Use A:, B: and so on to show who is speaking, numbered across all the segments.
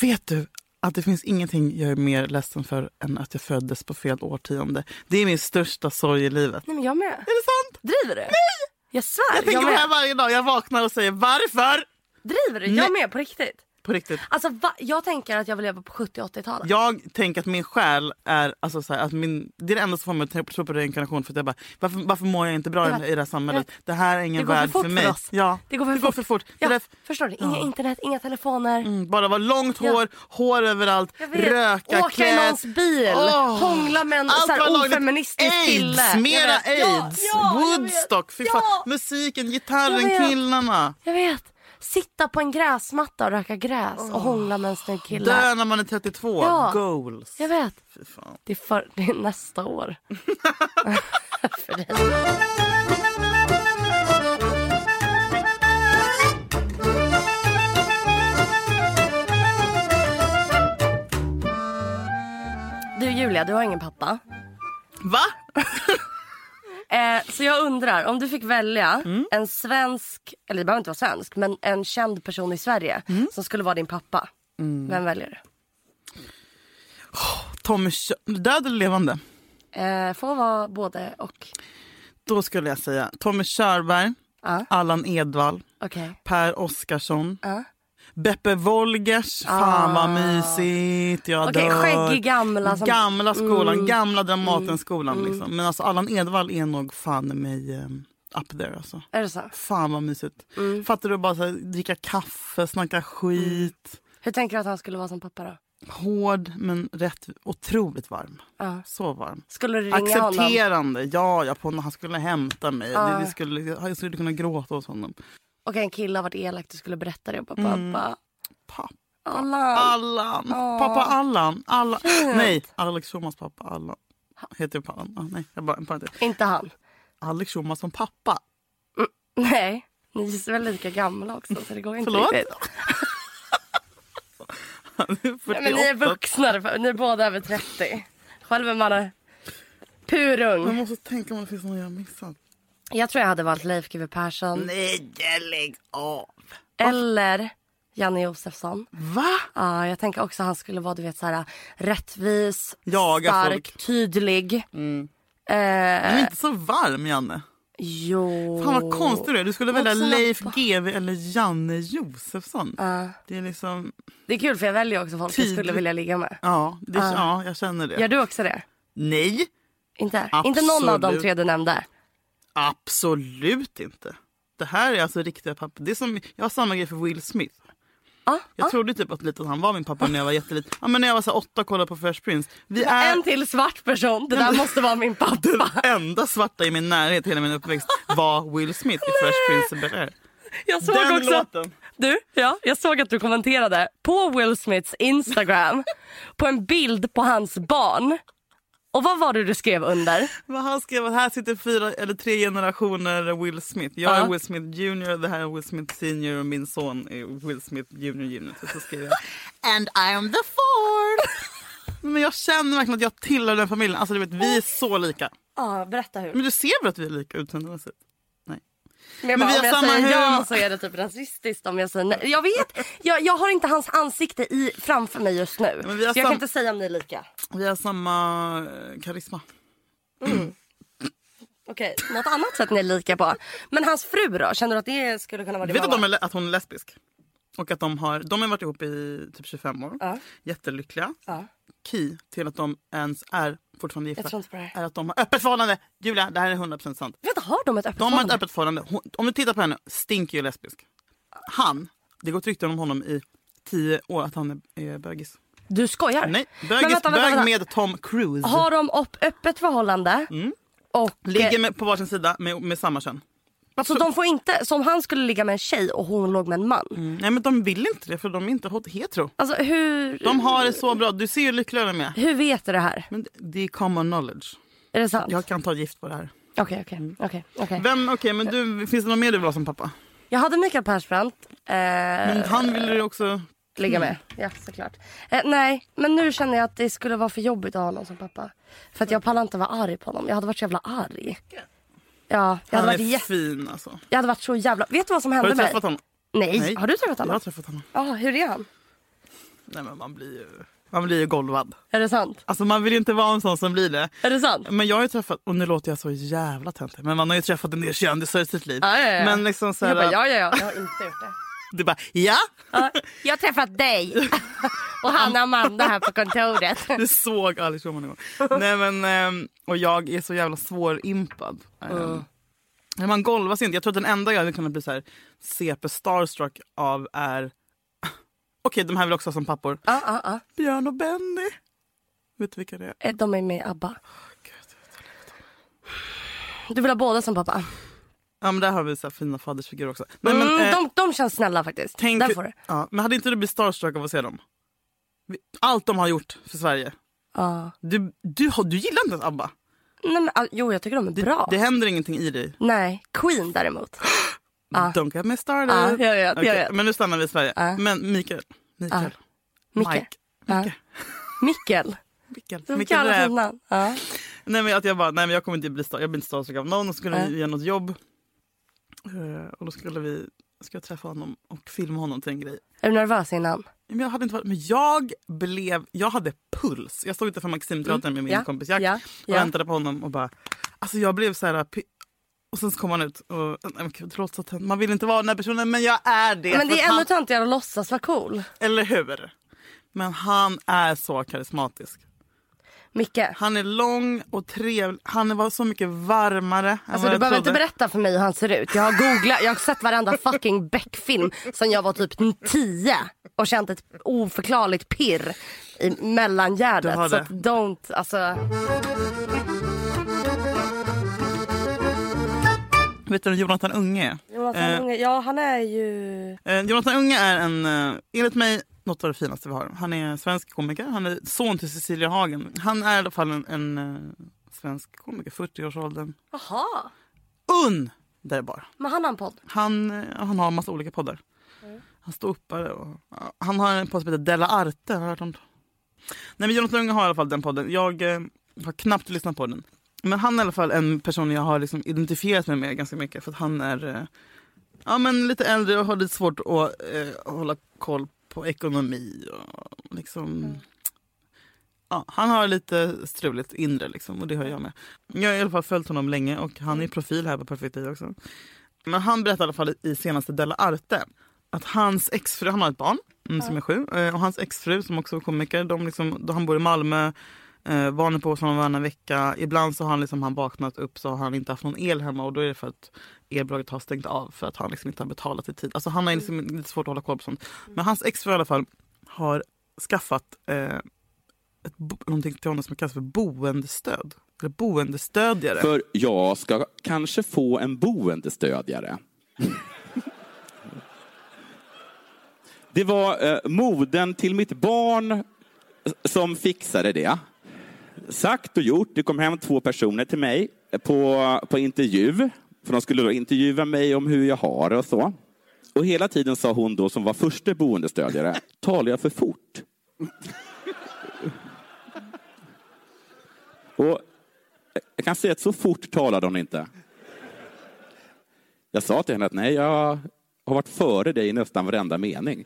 A: Vet du att det finns ingenting jag är mer ledsen för än att jag föddes på fel årtionde. Det är min största sorg i livet.
B: Nej men jag med.
A: Är det sant?
B: Driver du? Nej! Jag svär,
A: Jag tänker på det här
B: med.
A: varje dag. Jag vaknar och säger varför?
B: Driver du? Jag med på riktigt.
A: På riktigt.
B: Alltså va? jag tänker att jag vill leva på 70 80-talet.
A: Jag tänker att min själ är... Alltså så här, att min, det är det enda som får mig att tro på reinkarnation. För att jag bara, varför, varför mår jag inte bra i
B: Jag
A: den-
B: vet.
A: i det här samhället?
B: Jag vet.
A: Det här är ingen
B: Det går för
A: värld
B: fort
A: för
B: för
A: mig.
B: oss.
A: Ja,
B: Det går för
A: går
B: fort.
A: för fort. Det är
B: Ja,
A: därför-
B: förstår du? Inga
A: Ja.
B: internet, inga telefoner.
A: Mm, Bara vara långt
B: Ja.
A: hår, hår överallt,
B: Jag vet.
A: röka,
B: Åka i någons bil,
A: Åh.
B: hångla med en
A: Allt
B: så
A: var
B: här,
A: lagligt.
B: ofeministisk kille.
A: Aids,
B: Jag
A: mera
B: vet. Ja,
A: aids,
B: ja, jag vet.
A: Woodstock, fy fan.
B: Ja.
A: musiken,
B: Jag
A: gitarren,
B: vet.
A: killarna.
B: Jag vet. Sitta på en gräsmatta och röka gräs och hångla med en snygg kille.
A: Dö när man är 32,
B: Ja.
A: goals.
B: Jag vet.
A: Fy fan.
B: Det är, för, det är nästa år. för dig. Du Julia, du har ingen pappa.
A: Va?
B: Eh, så jag undrar, om du fick välja en svensk, eller det behöver inte vara svensk, men en känd person i Sverige som skulle vara din pappa. Vem väljer du?
A: Tommy Kö- död eller levande?
B: Eh, får vara både och.
A: Då skulle jag säga Tommy Körberg,
B: Ja.
A: Allan Edwall,
B: Okej.
A: Per Oskarsson,
B: Ja.
A: Beppe Wolgers. Fan vad mysigt, jag
B: Ah. Okej,
A: dör.
B: skäggig gamla som-
A: Alltså, Gamla skolan, gamla Dramatenskolan. Liksom. Men alltså Allan Edwall är nog fan mig eh, up there alltså.
B: Är det så?
A: Fan vad mysigt. Fattar du bara så här, dricka kaffe, snacka skit.
B: Hur tänker du att han skulle vara som pappa då?
A: Hård men rätt otroligt varm.
B: Ja.
A: Så varm.
B: Skulle du ringa honom?
A: Accepterande. Ja, ja på när han skulle hämta mig. Det, det skulle, jag skulle kunna gråta hos honom.
B: Okej, en kille har varit elak, du skulle berätta det. Och pappa, pappa.
A: Pappa
B: Alla.
A: Allan. Pappa Allan. Alla. Nej, Alex Schulmans pappa Allan. Heter jag pappa? Ah, nej, jag bara en parentes.
B: Inte han.
A: Alex Schulman som pappa.
B: Nej, ni är väl lika gamla också så det går inte
A: Förlåt?
B: riktigt.
A: Han är 48.
B: Nej, men ni är vuxna, ni är båda över 30. Själv är man
A: Man
B: purung.
A: måste tänka om det finns någon jag har missat.
B: Jag tror jag hade valt Leif GW Persson
A: Nej, lägg av.
B: eller Janne Josefsson.
A: Va?
B: Ja, jag tänker också att han skulle vara du vet, så här, rättvis,
A: Jaga
B: stark,
A: folk. Mm.
B: tydlig.
A: Du är
B: Eh,
A: inte så varm, Janne.
B: jo.
A: Fan vad konstig du är. Du skulle
B: Men
A: välja
B: också
A: Leif
B: pappa.
A: GW eller Janne Josefsson. Det är liksom...
B: Det är kul för jag väljer också folk jag skulle
A: Tydlig.
B: vilja ligga med.
A: Ja, det, ja jag känner det.
B: Gör du också det?
A: Nej,
B: Inte? Inte någon av de
A: Absolut.
B: tre du nämnde?
A: absolut inte. Det här är alltså riktiga papper. Det är som, jag har samma grej för Will Smith.
B: Ja,
A: Jag trodde typ att, lite att han var min pappa när jag var jätteliten. Ja, men när jag var så här åtta och kollade på Fresh Prince. Vi är
B: En till svart person. Det där måste vara min pappa.
A: enda svarta i min närhet hela min uppväxt var Will Smith i Fresh Prince of Bel-Air.
B: Jag såg
A: Den
B: också...
A: låten.
B: Du, ja, jag såg att du kommenterade på Will Smiths Instagram på en bild på hans barn. Och vad var det du skrev under?
A: Vad han skrev att här sitter fyra eller tre generationer Will Smith. Jag är
B: Ja.
A: Will Smith Junior, det här är Will Smith Senior och min son är Will Smith Junior Junior. Så, så skrev jag And I'm the fourth. Men jag känner verkligen att jag tillhör den familjen. Alltså du vet, vi är så lika.
B: Ja, berätta hur.
A: Men du ser väl att vi är lika utseendemässigt? Nej.
B: Men jag
A: Men
B: bara,
A: vi
B: om
A: har
B: jag
A: samma
B: säger ja
A: humor.
B: så är det typ rasistiskt om jag säger nej. Jag vet, jag, jag har inte hans ansikte i, framför mig just nu.
A: Men vi har
B: så jag kan
A: sam-
B: inte säga om ni är lika.
A: Vi har samma eh, karisma.
B: Okej, något annat sätt ni är lika på. Men hans fru då? Känner du att det skulle kunna vara
A: Du
B: din
A: vet att,
B: mamma?
A: de är, le- att hon är lesbisk? Och att de har, de har varit ihop i typ 25 år.
B: Ja.
A: Jättelyckliga.
B: Ja.
A: Key till att de ens är fortfarande gifta
B: Jag tror inte på det här.
A: är att de har öppet förhållande. Julia, det här är 100% sant.
B: Vänta, har de ett öppet
A: De har ett
B: förhållande?
A: öppet förhållande. Hon, om du tittar på henne, stinker ju lesbisk. Han, det går ett rykte om honom i tio år att han är, är bögis.
B: Du skojar?
A: Nej,
B: Men
A: bögis,
B: vänta, vänta,
A: bög
B: vänta.
A: med Tom Cruise.
B: Har de upp, öppet förhållande och...
A: Mm.
B: eh,
A: Ligger med, på varsin sida med, med samma kön.
B: Så Alltså, de får inte, som han skulle ligga med en tjej och hon låg med en man.
A: Nej men de vill inte det för de är inte hot- hetero.
B: Alltså hur,
A: De har det så bra. Du ser ju lyckliga de är.
B: hur vet du det här?
A: Men det- det är common knowledge.
B: Är det sant?
A: Jag kan ta gift på det här.
B: Okej, okej. okej, okej.
A: Mm. Vem, okej men du, finns det någon mer du vill ha som pappa?
B: Jag hade Mikael Persbrandt eh,
A: Men Mm. han vill ju också...
B: ligga med. Ja, såklart. Eh, nej, men nu känner jag att det skulle vara för jobbigt att ha honom som pappa. För att jag pallar inte vara arg på honom. Jag hade varit så jävla arg. Ja, jag hade,
A: Han
B: varit
A: är
B: jätte,
A: fin alltså.
B: jag hade varit så jävla... Vet du vad som
A: Har
B: hände
A: du
B: mig?
A: träffat honom?
B: Nej.
A: Nej.
B: Har du träffat
A: Jag
B: honom?
A: har träffat honom.
B: Ja, hur är han?
A: Nej, men man blir ju, man blir ju golvad.
B: Är det sant?
A: Alltså man vill ju inte vara en sån som blir det.
B: Är det sant?
A: Men jag har ju träffat, och nu låter jag så jävla töntig, men man har ju träffat en del kändisar i sitt liv.
B: Ja, ja, ja.
A: Men liksom så här,
B: Jag bara, ja, ja, ja. Jag har inte gjort det.
A: det är bara ja,
B: Ja, jag har träffat dig och Hanna Amanda här på kontoret.
A: du såg Alex Roman en gång. Nej men, ehm, och jag är så jävla svårimpad. Mm. Man golvas inte. Jag tror att den enda jag hade kunnat bli så här CP starstruck av är, okej de här vill också ha som pappor,
B: Ja, ja, ja.
A: Björn och Benny. Vet du vilka det är?
B: Eh, De är med i ABBA.
A: Gud.
B: Du vill ha båda som pappa?
A: Ja men där har vi så här fina fadersfigurer också. Nej,
B: Mm,
A: men, eh,
B: de, de känns snälla faktiskt.
A: Tänk,
B: Där får du.
A: Ja, men hade inte du blivit starstruck av att se dem? Vi- Allt de har gjort för Sverige.
B: Ja.
A: Du, du, har- du gillar inte ens ABBA.
B: Nej, men, ah, jo, jag tycker de är bra.
A: Det händer ingenting i dig.
B: Nej, Queen däremot. Ah.
A: Don't get me started.
B: Ja, jag vet, jag
A: Okej,
B: vet.
A: Men nu stannar vi i Sverige.
B: Ja.
A: Men Mikael. Mikael.
B: Micke.
A: Mike.
B: Ja.
A: Micke.
B: Mikael.
A: Mikael.
B: De
A: Mikael
B: kallas
A: Räv.
B: innan. Ja.
A: Nej men att jag bara, nej men jag kommer inte bli star, jag blir inte starstruck av någon och så skulle
B: Nej.
A: vi göra något jobb. Eh, och då skulle vi, ska jag träffa honom och filma honom till en grej.
B: Är du nervös innan?
A: Men jag hade inte varit, men jag blev, jag hade puls. Jag stod utanför Maximteatern med min
B: Mm, Ja,
A: kompis Jack
B: ja,
A: och
B: ja.
A: väntade på honom och bara, alltså jag blev så här py- och sen så kom han ut och, eh, nej men gud, det låter så tönt. man vill inte vara den här personen men jag är det.
B: Men
A: För
B: det
A: att
B: är ännu
A: han,
B: töntigare att låtsas vara cool.
A: eller hur? Men han är så karismatisk.
B: Micke,
A: Han är lång och trevlig, han var så mycket varmare än vad
B: alltså, du
A: jag
B: behöver
A: trodde.
B: inte berätta för mig hur han ser ut. Jag har googlat, jag har sett varenda fucking Beck-film sen jag var typ 10 och känt ett oförklarligt pirr i
A: Du har
B: mellangärdet. Så
A: det.
B: att don't, alltså.
A: Vet du vem Jonathan Unge är?
B: Jonathan
A: Eh,
B: Unge, ja han är ju...
A: Eh, Jonathan Unge är en, eh, enligt mig något av det finaste vi har. Han är svensk komiker, han är son till Cecilia Hagen. Han är i alla fall en, en eh, svensk komiker, 40-årsåldern.
B: Jaha,
A: Underbar!
B: men han har en podd. Mm.
A: Han, eh, han har en massa olika poddar. Han står uppare och ja, Han har en podd som heter Della Arte. Har du hört om det? Nej, men Jonathan Unge har i alla fall den podden. Jag eh, har knappt lyssnat på den. Men han är i alla fall en person jag har liksom identifierat mig med ganska mycket. För att han är eh, ja, men lite äldre och har lite svårt att eh, hålla koll på ekonomi. Och liksom, ja, han har lite struligt inre liksom, och det har jag med. Jag har i alla fall följt honom länge och han är profil här på Perfect Day också. Men han berättade i alla fall i senaste Della Arte att hans exfru, han har ett barn mm, som är sju, eh, och hans exfru som också är komiker, de liksom, då han bor i Malmö, eh, barnen på hos honom varannan vecka. Ibland så har han, liksom, han vaknat upp så har han inte haft någon el hemma och då är det för att elbolaget har stängt av för att han liksom inte har betalat i tid. Alltså han har liksom lite svårt att hålla koll på sånt. Men hans exfru i alla fall har skaffat eh, ett, bo- någonting till honom som kallas för boendestöd. Eller boendestödjare.
C: För jag ska kanske få en boendestödjare. Det var eh, moden till mitt barn eh, som fixade det. Sagt och gjort, det kom hem två personer till mig eh, på, på intervju. För de skulle då intervjua mig om hur jag har det och så. Och hela tiden sa hon då, som var första boendestödjare, talar jag för fort? och jag kan säga att så fort talade hon inte. Jag sa till henne att nej, jag har varit före dig i nästan varenda mening.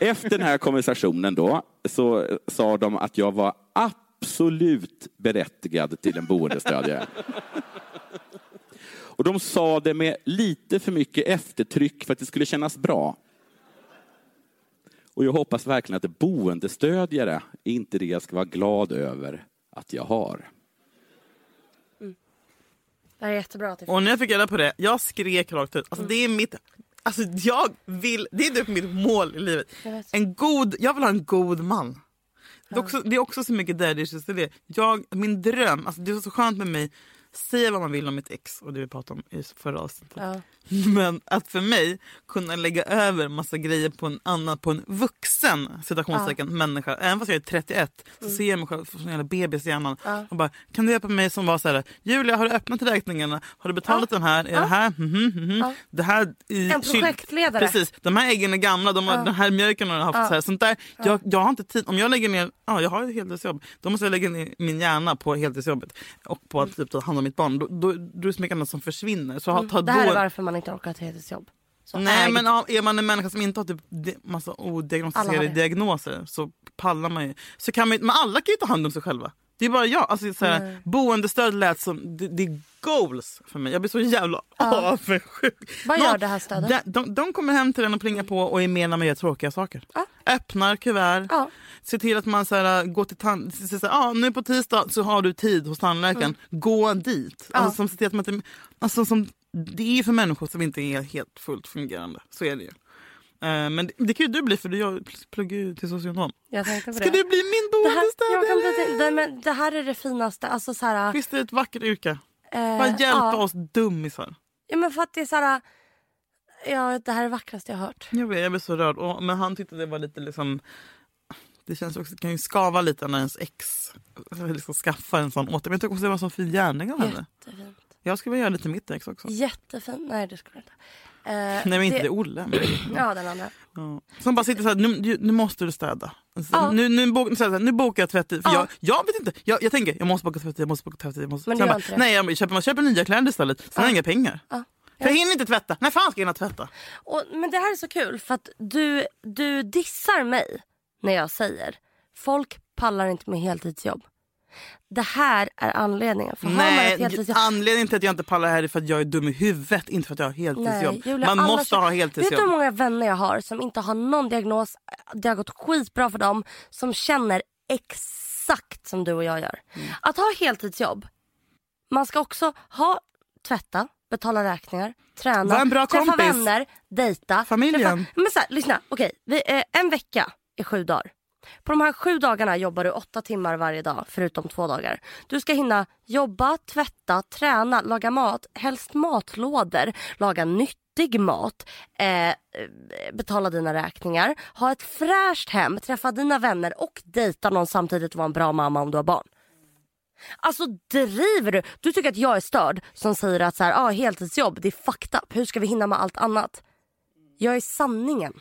C: Efter den här konversationen då så sa de att jag var absolut berättigad till en boendestödjare. Och de sa det med lite för mycket eftertryck för att det skulle kännas bra. Och jag hoppas verkligen att boendestödjare är inte det jag ska vara glad över att jag har.
B: Det här är jättebra. Typ.
A: Och när jag fick reda på det, jag skrek rakt ut. Alltså det är mitt... Alltså jag vill... Det är typ mitt mål i livet.
B: vet.
A: En god... Jag vill ha en god man. Det är också, det är också så mycket daddy issues i det. Jag, min dröm, alltså det är så skönt med mig, säga vad man vill om mitt ex och det vi pratade om i förra avsnittet.
B: Ja.
A: Men att för mig kunna lägga över massa grejer på en annan, på en vuxen citationstecken, människa. Även fast jag är 31 så
B: Mm.
A: ser jag mig själv som en jävla bebis i hjärnan. Och bara, kan du hjälpa mig som var så här, Julia har du öppnat räkningarna? Har du betalat den här? Är det här? Mhm, mhm. Det här i
B: En
A: kyl-
B: projektledare.
A: Precis, de här äggen är gamla, de har, den här mjölken har du haft. Så här, sånt där. Jag, jag har inte tid. Om jag lägger ner, ja, jag har ett heltidsjobb, då måste jag lägga ner min hjärna på heltidsjobbet och på att typ, ta hand om mitt barn. Då, då, då är det så mycket annat som försvinner. Så ha- ta
B: Mm. Det här
A: då-
B: är varför man inte orkar ta heltidsjobb. Så
A: Nej,
B: äg-
A: men ja, är man en människa som inte har typ di- massa
B: Alla har
A: odiagnostiserade
B: det.
A: diagnoser så pallar man ju. Så kan man, ju- men alla kan ju ta hand om sig själva. Det är bara jag. Alltså, det är så här, boendestöd lät som... Det, det är goals för mig. Jag blir så jävla avundsjuk.
B: Vad gör
A: Någon-
B: det här stödet?
A: De, de, de kommer hem till en och plingar på och är med när man gör tråkiga saker.
B: Ja.
A: Öppnar kuvert.
B: Ja.
A: Se till att man så här, äh, går till tand... Så, så, så, ah, nu på tisdag så har du tid hos tandläkaren.
B: Mm.
A: Gå dit. Alltså, som, ser till att man inte, alltså, som, det är ju för människor som inte är helt fullt fungerande. Så är det ju. Eh, men det, det kan ju du bli för du jag pluggar ju till socionom.
B: Jag tänkte på
A: Ska
B: det.
A: du bli min
B: det här, jag kan
A: boendestöd?
B: bli till,
A: eller?
B: nej, men det här är det finaste. Alltså, så här,
A: Visst är det ett vackert yrke?
B: eh,
A: Bara hjälpa
B: ja.
A: oss dummisar.
B: Ja, men för att det är så här... Ja, det här är det vackraste jag har hört.
A: Jag blev, jag blev så rörd. Och, men han tyckte det var lite liksom... Det känns också, det kan ju skava lite när ens ex liksom skaffar en sån åter. Men jag tycker också det var en sån fin gärning av henne.
B: Jättefint.
A: Jag skulle vilja göra lite mitt ex också.
B: Jättefint. Nej, det skulle jag inte. Eh,
A: Nej men inte det, Olle. Men,
B: Ja, den andra.
A: ja. Som bara sitter såhär, nu, ju- nu måste du städa. Alltså,
B: Ja.
A: Nu, nu, bok, så här, nu bokar jag tvätt. För
B: Ja.
A: jag, jag vet inte, jag, jag tänker jag måste boka tvätt, jag måste boka tvätt. Jag måste.
B: Men du
A: Sen
B: gör
A: bara,
B: inte det.
A: Nej jag köper, man köper nya kläder istället. Sen har jag inga pengar.
B: Ja.
A: För jag hinner inte tvätta. När fan ska jag hinna tvätta?
B: Och, men det här är så kul för att du, du dissar mig när jag säger folk pallar inte med heltidsjobb. Det här är anledningen. För har man ett
A: Nej,
B: heltidsjobb...
A: anledningen till att jag inte pallar här är för att jag är dum i huvudet, inte för att jag har heltidsjobb.
B: Julia,
A: man
B: alla
A: måste
B: kö-
A: ha
B: Vet du hur
A: heltidsjobb.
B: många vänner jag har som inte har någon diagnos, det har gått skitbra för dem, som känner exakt som du och jag gör.
A: Mm.
B: Att ha heltidsjobb, man ska också ha tvätta, betala räkningar, träna,
A: Var en bra
B: träffa
A: kompis.
B: vänner, dejta.
A: Familjen.
B: Träffa, men så här, lyssna, okej, vi, eh, en vecka är sju dagar. På de här sju dagarna jobbar du åtta timmar varje dag förutom två dagar. Du ska hinna jobba, tvätta, träna, laga mat, helst matlådor, laga nyttig mat, eh, eh, betala dina räkningar, ha ett fräscht hem, träffa dina vänner och dejta någon samtidigt och vara en bra mamma om du har barn. Alltså driver du? Du tycker att jag är störd som säger att så här, ah, heltidsjobb det är fucked up. Hur ska vi hinna med allt annat? Jag är sanningen.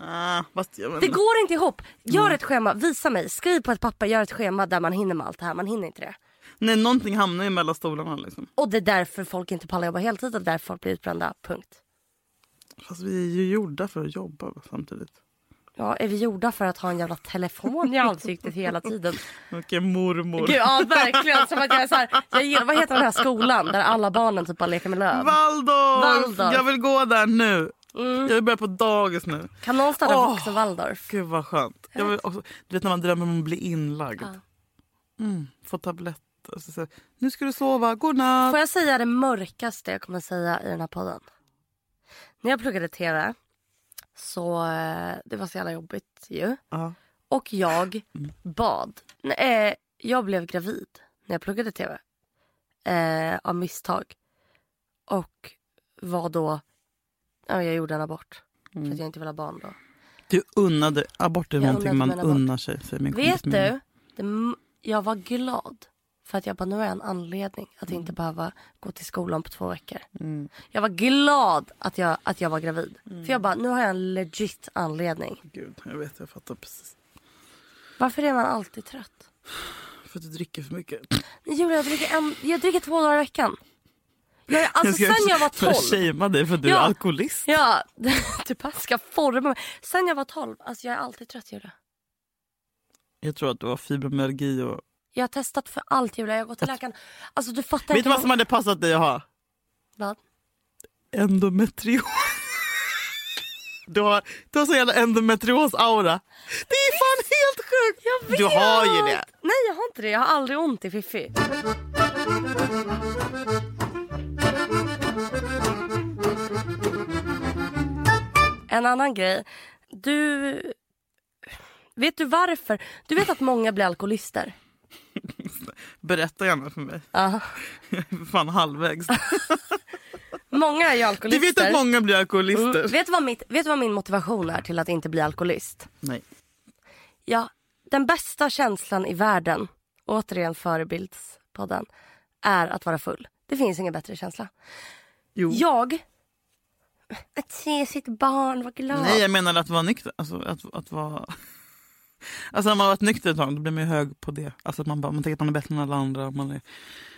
A: Ah, fast jag,
B: Det går inte ihop. Gör ett schema, visa mig. Skriv på ett papper, gör ett schema där man hinner med allt det här. Man hinner inte det.
A: Nej, någonting hamnar ju mellan stolarna. Liksom.
B: Och det är därför folk inte pallar jobba heltid och därför folk blir utbrända. Punkt.
A: Fast vi är ju gjorda för att jobba samtidigt.
B: Ja, är vi gjorda för att ha en jävla telefon i ansiktet hela tiden?
A: Vilken mormor.
B: Gud, ja verkligen. Som att jag är så här, jag gillar, vad heter den här skolan där alla barnen typ bara leker med löv?
A: Waldorf!
B: Waldorf.
A: Jag vill gå där nu.
B: Mm.
A: Jag vill börja på dagis nu.
B: Kan någon starta
A: Åh.
B: Vuxen Waldorf?
A: Gud vad skönt. Jag vill också, du vet när man drömmer om att bli inlagd. Mm, få tabletter. Så, så, nu ska du sova, godnatt.
B: Får jag säga det mörkaste jag kommer säga i den här podden? När jag pluggade TV så eh, det var så jävla jobbigt ju.
A: Ja.
B: Och jag bad. Nej, eh, jag blev gravid när jag pluggade tv. Eh, av misstag. Och var då... Ja, jag gjorde en abort. För att jag inte ville ha barn då.
A: Du unnade abort är
B: Jag
A: någonting
B: unnade
A: man
B: mig en abort.
A: unnar sig. Säger min kompis
B: Vet
A: Mia.
B: du? Det, m- jag var glad. För att jag bara, nu har jag en anledning att inte
A: Mm.
B: behöva gå till skolan på två veckor. Jag var glad att jag, att jag var gravid.
A: Mm.
B: För jag bara, nu har jag en legit anledning.
A: Gud, jag vet, jag fattar precis.
B: Varför är man alltid trött?
A: För att du dricker för mycket.
B: Nej, Julia, jag dricker, en, jag dricker två dagar i veckan. Jag, alltså sen jag var
A: för att
B: 12.
A: shamea dig för att du
B: Ja.
A: är alkoholist.
B: Ja, du bara ska forma mig. Sen jag var 12, alltså jag är alltid trött Julia.
A: Jag tror att du har fibromyalgi och...
B: Jag har testat för allt Julia, jag har gått till läkaren. Alltså du fattar
A: Vet du vad som hade passat dig att ha?
B: Vad?
A: Endometrios. Du har, du har så jävla endometrios-aura. Det är fan helt sjukt!
B: Jag vet!
A: Du har ju det.
B: Nej jag har inte det, jag har aldrig ont i Fifi. En annan grej. Du... Vet du varför? Du vet att många blir alkoholister?
A: Berätta gärna för mig.
B: Ja.
A: fan halvvägs.
B: Många är ju
A: Du
B: alkoholister.
A: vet att många blir alkoholister.
B: Mm. Vet, du vad mitt, vet du vad min motivation är till att inte bli alkoholist?
A: Nej.
B: Ja, den bästa känslan i världen, återigen förebildspodden, är att vara full. Det finns ingen bättre känsla.
A: Jo.
B: Jag, att se sitt barn vara glad.
A: Nej, jag menar att vara nykter. Alltså, att, att vara... Alltså när man har varit nykter ett tag då blir man ju hög på det. Alltså att man, bara, man tänker att man är bättre än alla andra. och Man är...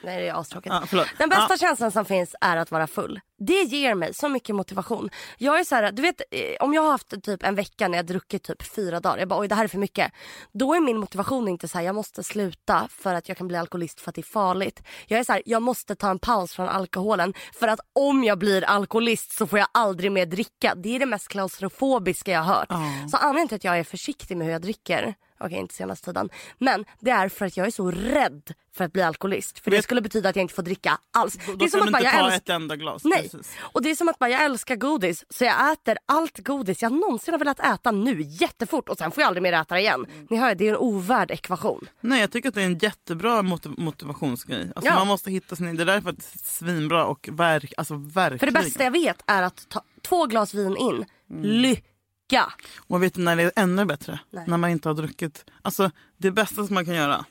B: Nej, det är astråkigt.
A: ah, förlåt.
B: Den bästa
A: Ah,
B: känslan som finns är att vara full. Det ger mig så mycket motivation. Jag är så här, du vet, eh, om jag har haft typ en vecka när jag druckit typ fyra dagar, jag bara oj det här är för mycket. Då är min motivation inte så här, jag måste sluta för att jag kan bli alkoholist för att det är farligt. Jag är så här, jag måste ta en paus från alkoholen för att om jag blir alkoholist så får jag aldrig mer dricka. Det är det mest klaustrofobiska jag har hört. Så anledningen till att jag är försiktig med hur jag dricker, okej inte senaste tiden, men det är för att jag är så rädd för att bli alkoholist. För det
A: Vet-
B: skulle betyda att jag inte får dricka alls.
A: Då
B: det är
A: ska du
B: som att bara,
A: inte ta
B: jag älskar...
A: ett enda glas.
B: Nej,
A: Precis.
B: och det är som att bara, jag älskar godis så jag äter allt godis jag någonsin har velat äta nu jättefort och sen får jag aldrig mer äta det igen.
A: Mm.
B: Ni hör, ju, det är en ovärd ekvation.
A: Nej, jag tycker att det är en jättebra mot- motivationsgrej. Alltså,
B: Ja.
A: Man måste hitta sin... Det är därför att det är svinbra och verk, alltså, verkligen.
B: För det bästa jag vet är att ta två glas vin in,
A: Mm.
B: lycka.
A: Och vet du när det är ännu bättre?
B: Nej.
A: När man inte har druckit. Alltså det bästa som man kan göra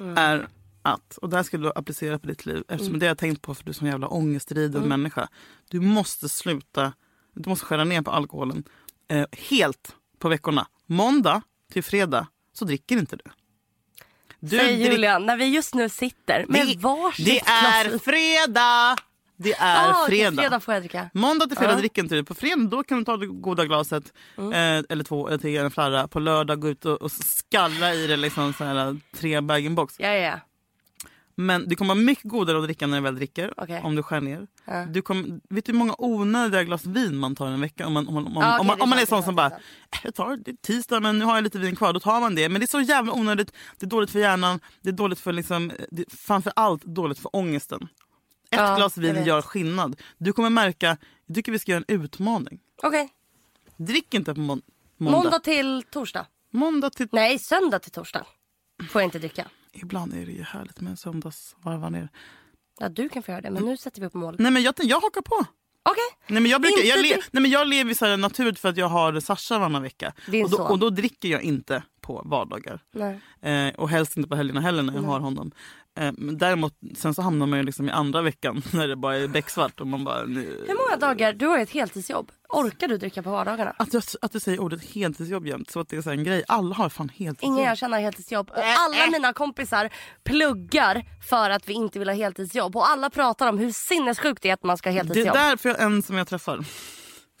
B: Mm.
A: är att, och det här ska du applicera på ditt liv eftersom det har jag tänkt på för du är sån jävla ångestdriden
B: Mm.
A: människa. Du måste sluta, du måste skära ner på alkoholen eh, helt på veckorna. Måndag till fredag så dricker inte du. Du
B: Säger
A: dricker-
B: Julia, när vi just nu sitter med
A: det,
B: varsitt
A: det
B: glas
A: är
B: vin.
A: fredag! Det är
B: Ah, okej,
A: fredag.
B: fredag får jag dricka.
A: Måndag till fredag
B: Ja.
A: dricker inte du. På fredag då kan du ta det goda glaset eh, eller två eller tre eller en flarra. På lördag gå ut och, och skalla i det liksom så här, tre bag box
B: Ja, ja, ja.
A: Men det kommer vara mycket godare att dricka när du väl dricker
B: Okej.
A: om du skär ner.
B: Ja.
A: Du kommer, vet du hur många onödiga glas vin man tar en vecka om man, om, man- om,
B: Ja, okej,
A: om, man,
B: det liksom är
A: om man är
B: sant,
A: sån
B: det är
A: som
B: sant,
A: bara
B: det är
A: "Eh, jag tar det är tisdag men nu har jag lite vin kvar. Då tar man det. Men det är så jävla onödigt. Det är dåligt för hjärnan. Det är dåligt för liksom, det, är framför allt dåligt för ångesten. Ett
B: Ja,
A: glas
B: jag
A: vin
B: vet.
A: gör skillnad. Du kommer märka, jag tycker vi ska göra en utmaning.
B: Okej,
A: Drick inte på mån- måndag.
B: måndag
A: måndag.
B: till torsdag.
A: till...
B: Nej, söndag till torsdag får jag inte dricka.
A: Ibland är det ju härligt med en söndagsvarva ner.
B: Ja, du kan få göra det, men nu sätter vi upp mål.
A: Nej men jag, jag hakar på.
B: Okej,
A: Nej men jag, brukar,
B: Inte
A: jag, le,
B: drick-
A: nej, men jag lever ju så här naturligt för att jag har Sasha varannan vecka.
B: Din
A: Och då,
B: son.
A: och då dricker jag inte på vardagar.
B: Nej.
A: Eh, och helst inte på helgerna heller när jag har honom. Eh, men däremot sen så hamnar man ju liksom i andra veckan när det bara är becksvart och man bara... Nu...
B: hur många dagar, du har ju ett heltidsjobb. Orkar du dricka på vardagarna?
A: Att, jag, att du säger ordet heltidsjobb jämt så att det är så här en grej. Alla har fan heltidsjobb.
B: Ingen jag känner har heltidsjobb och
A: Äh,
B: alla mina kompisar pluggar för att vi inte vill ha heltidsjobb och alla pratar om hur sinnessjukt det är att man ska ha
A: Det är
B: heltidsjobb. Mm.
A: därför jag, en som jag träffar.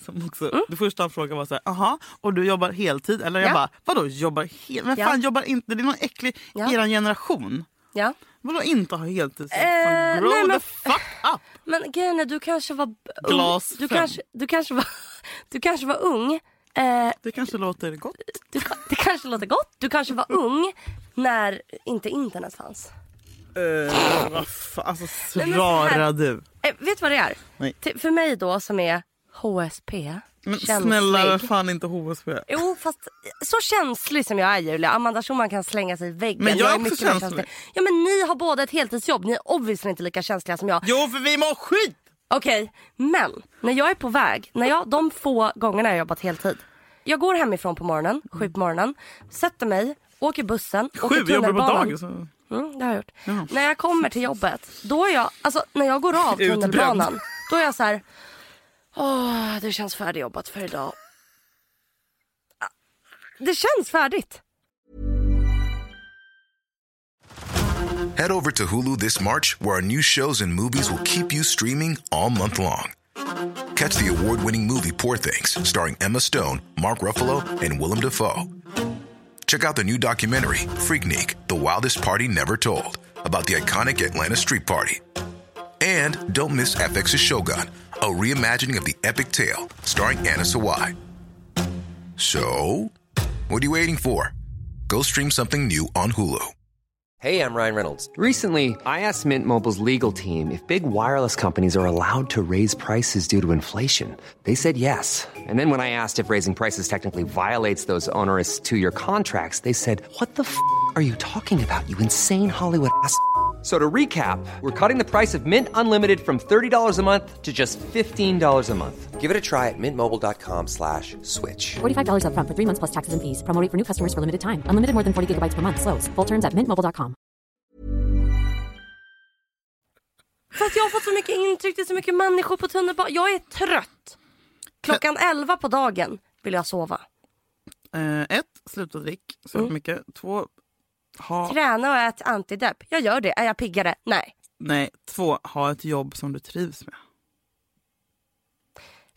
A: Som också, Det första han frågade var så här, aha, och du jobbar heltid? Eller jag
B: Ja.
A: bara, vadå jobbar heltid? Men
B: Ja.
A: fan jobbar inte, det är någon äcklig,
B: Ja.
A: eran generation.
B: Ja.
A: Vadå inte ha heltid?
B: Eh,
A: fan, grow
B: nej, men-
A: the fuck up!
B: Men grejen är, du kanske var
A: Glas
B: ung. Du
A: fem.
B: kanske, du kanske var, du kanske var ung. Eh,
A: Det kanske låter gott.
B: du, ka- det kanske låter gott. Du kanske var ung när inte internet fanns.
A: Eh, vad fan, alltså
B: Nej, men så här-
A: svara du.
B: Eh, vet du vad det är?
A: Nej.
B: Till- för mig då som är HSP,
A: Men
B: känslig.
A: snälla fan inte HSB.
B: Jo, fast eh, så känslig som jag är Julia. Amanda Schumann kan slänga sig i väggen.
A: Men jag är också
B: mycket mer
A: känslig.
B: Ja men ni har båda ett heltidsjobb. Ni är obviously inte lika känsliga som jag.
A: Jo för vi mår skit!
B: Okej, men när jag är på väg, när jag, de få gångerna jag har jobbat heltid. Jag går hemifrån på morgonen, sju på morgonen, sätter mig, åker bussen, åker
A: Sju, jag jobbar på
B: tunnelbanan.
A: dagis. så-
B: Mm, det har jag gjort.
A: Jaha.
B: När jag kommer till jobbet, då är jag, alltså när jag går av
A: Utbränd.
B: tunnelbanan, då är jag så här, åh det känns färdigjobbat för idag. Ah, Det känns färdigt.
D: Head over to Hulu this March, where our new shows and movies will keep you streaming all month long. Catch the award winning movie Poor Things, starring Emma Stone, Mark Ruffalo, and Willem Dafoe. Check out the new documentary, Freaknik The Wildest Party Never Told, about the iconic Atlanta Street Party. And don't miss FX's Shogun, a reimagining of the epic tale, starring Anna Sawai. So, what are you waiting for? Go stream something new on Hulu.
E: Hey, I'm Ryan Reynolds. Recently, I asked Mint Mobile's legal team if big wireless companies are allowed to raise prices due to inflation. They said yes. And then when I asked if raising prices technically violates those onerous two year contracts, they said, What the f are you talking about, you insane Hollywood ass? f- So to recap, we're cutting the price of Mint Unlimited from $30 a month to just $15 a month. Give it a try at mintmobile.com slash switch.
F: $45 upfront for three months plus taxes and fees. Promoting for new customers for limited time. Unlimited more than 40 gigabytes per month. Slows. Full terms at mintmobile.com.
B: För att jag har fått så mycket intryck, det är så mycket människor på tunnelbanan. Jag är trött. Klockan 11 på dagen vill jag sova.
A: Eh, ett, sluta drick så
B: Mm.
A: jävla mycket. Två, ha...
B: Träna och ät antidepp. Jag gör det. Är jag piggare? Nej.
A: Nej, två, ha ett jobb som du trivs med.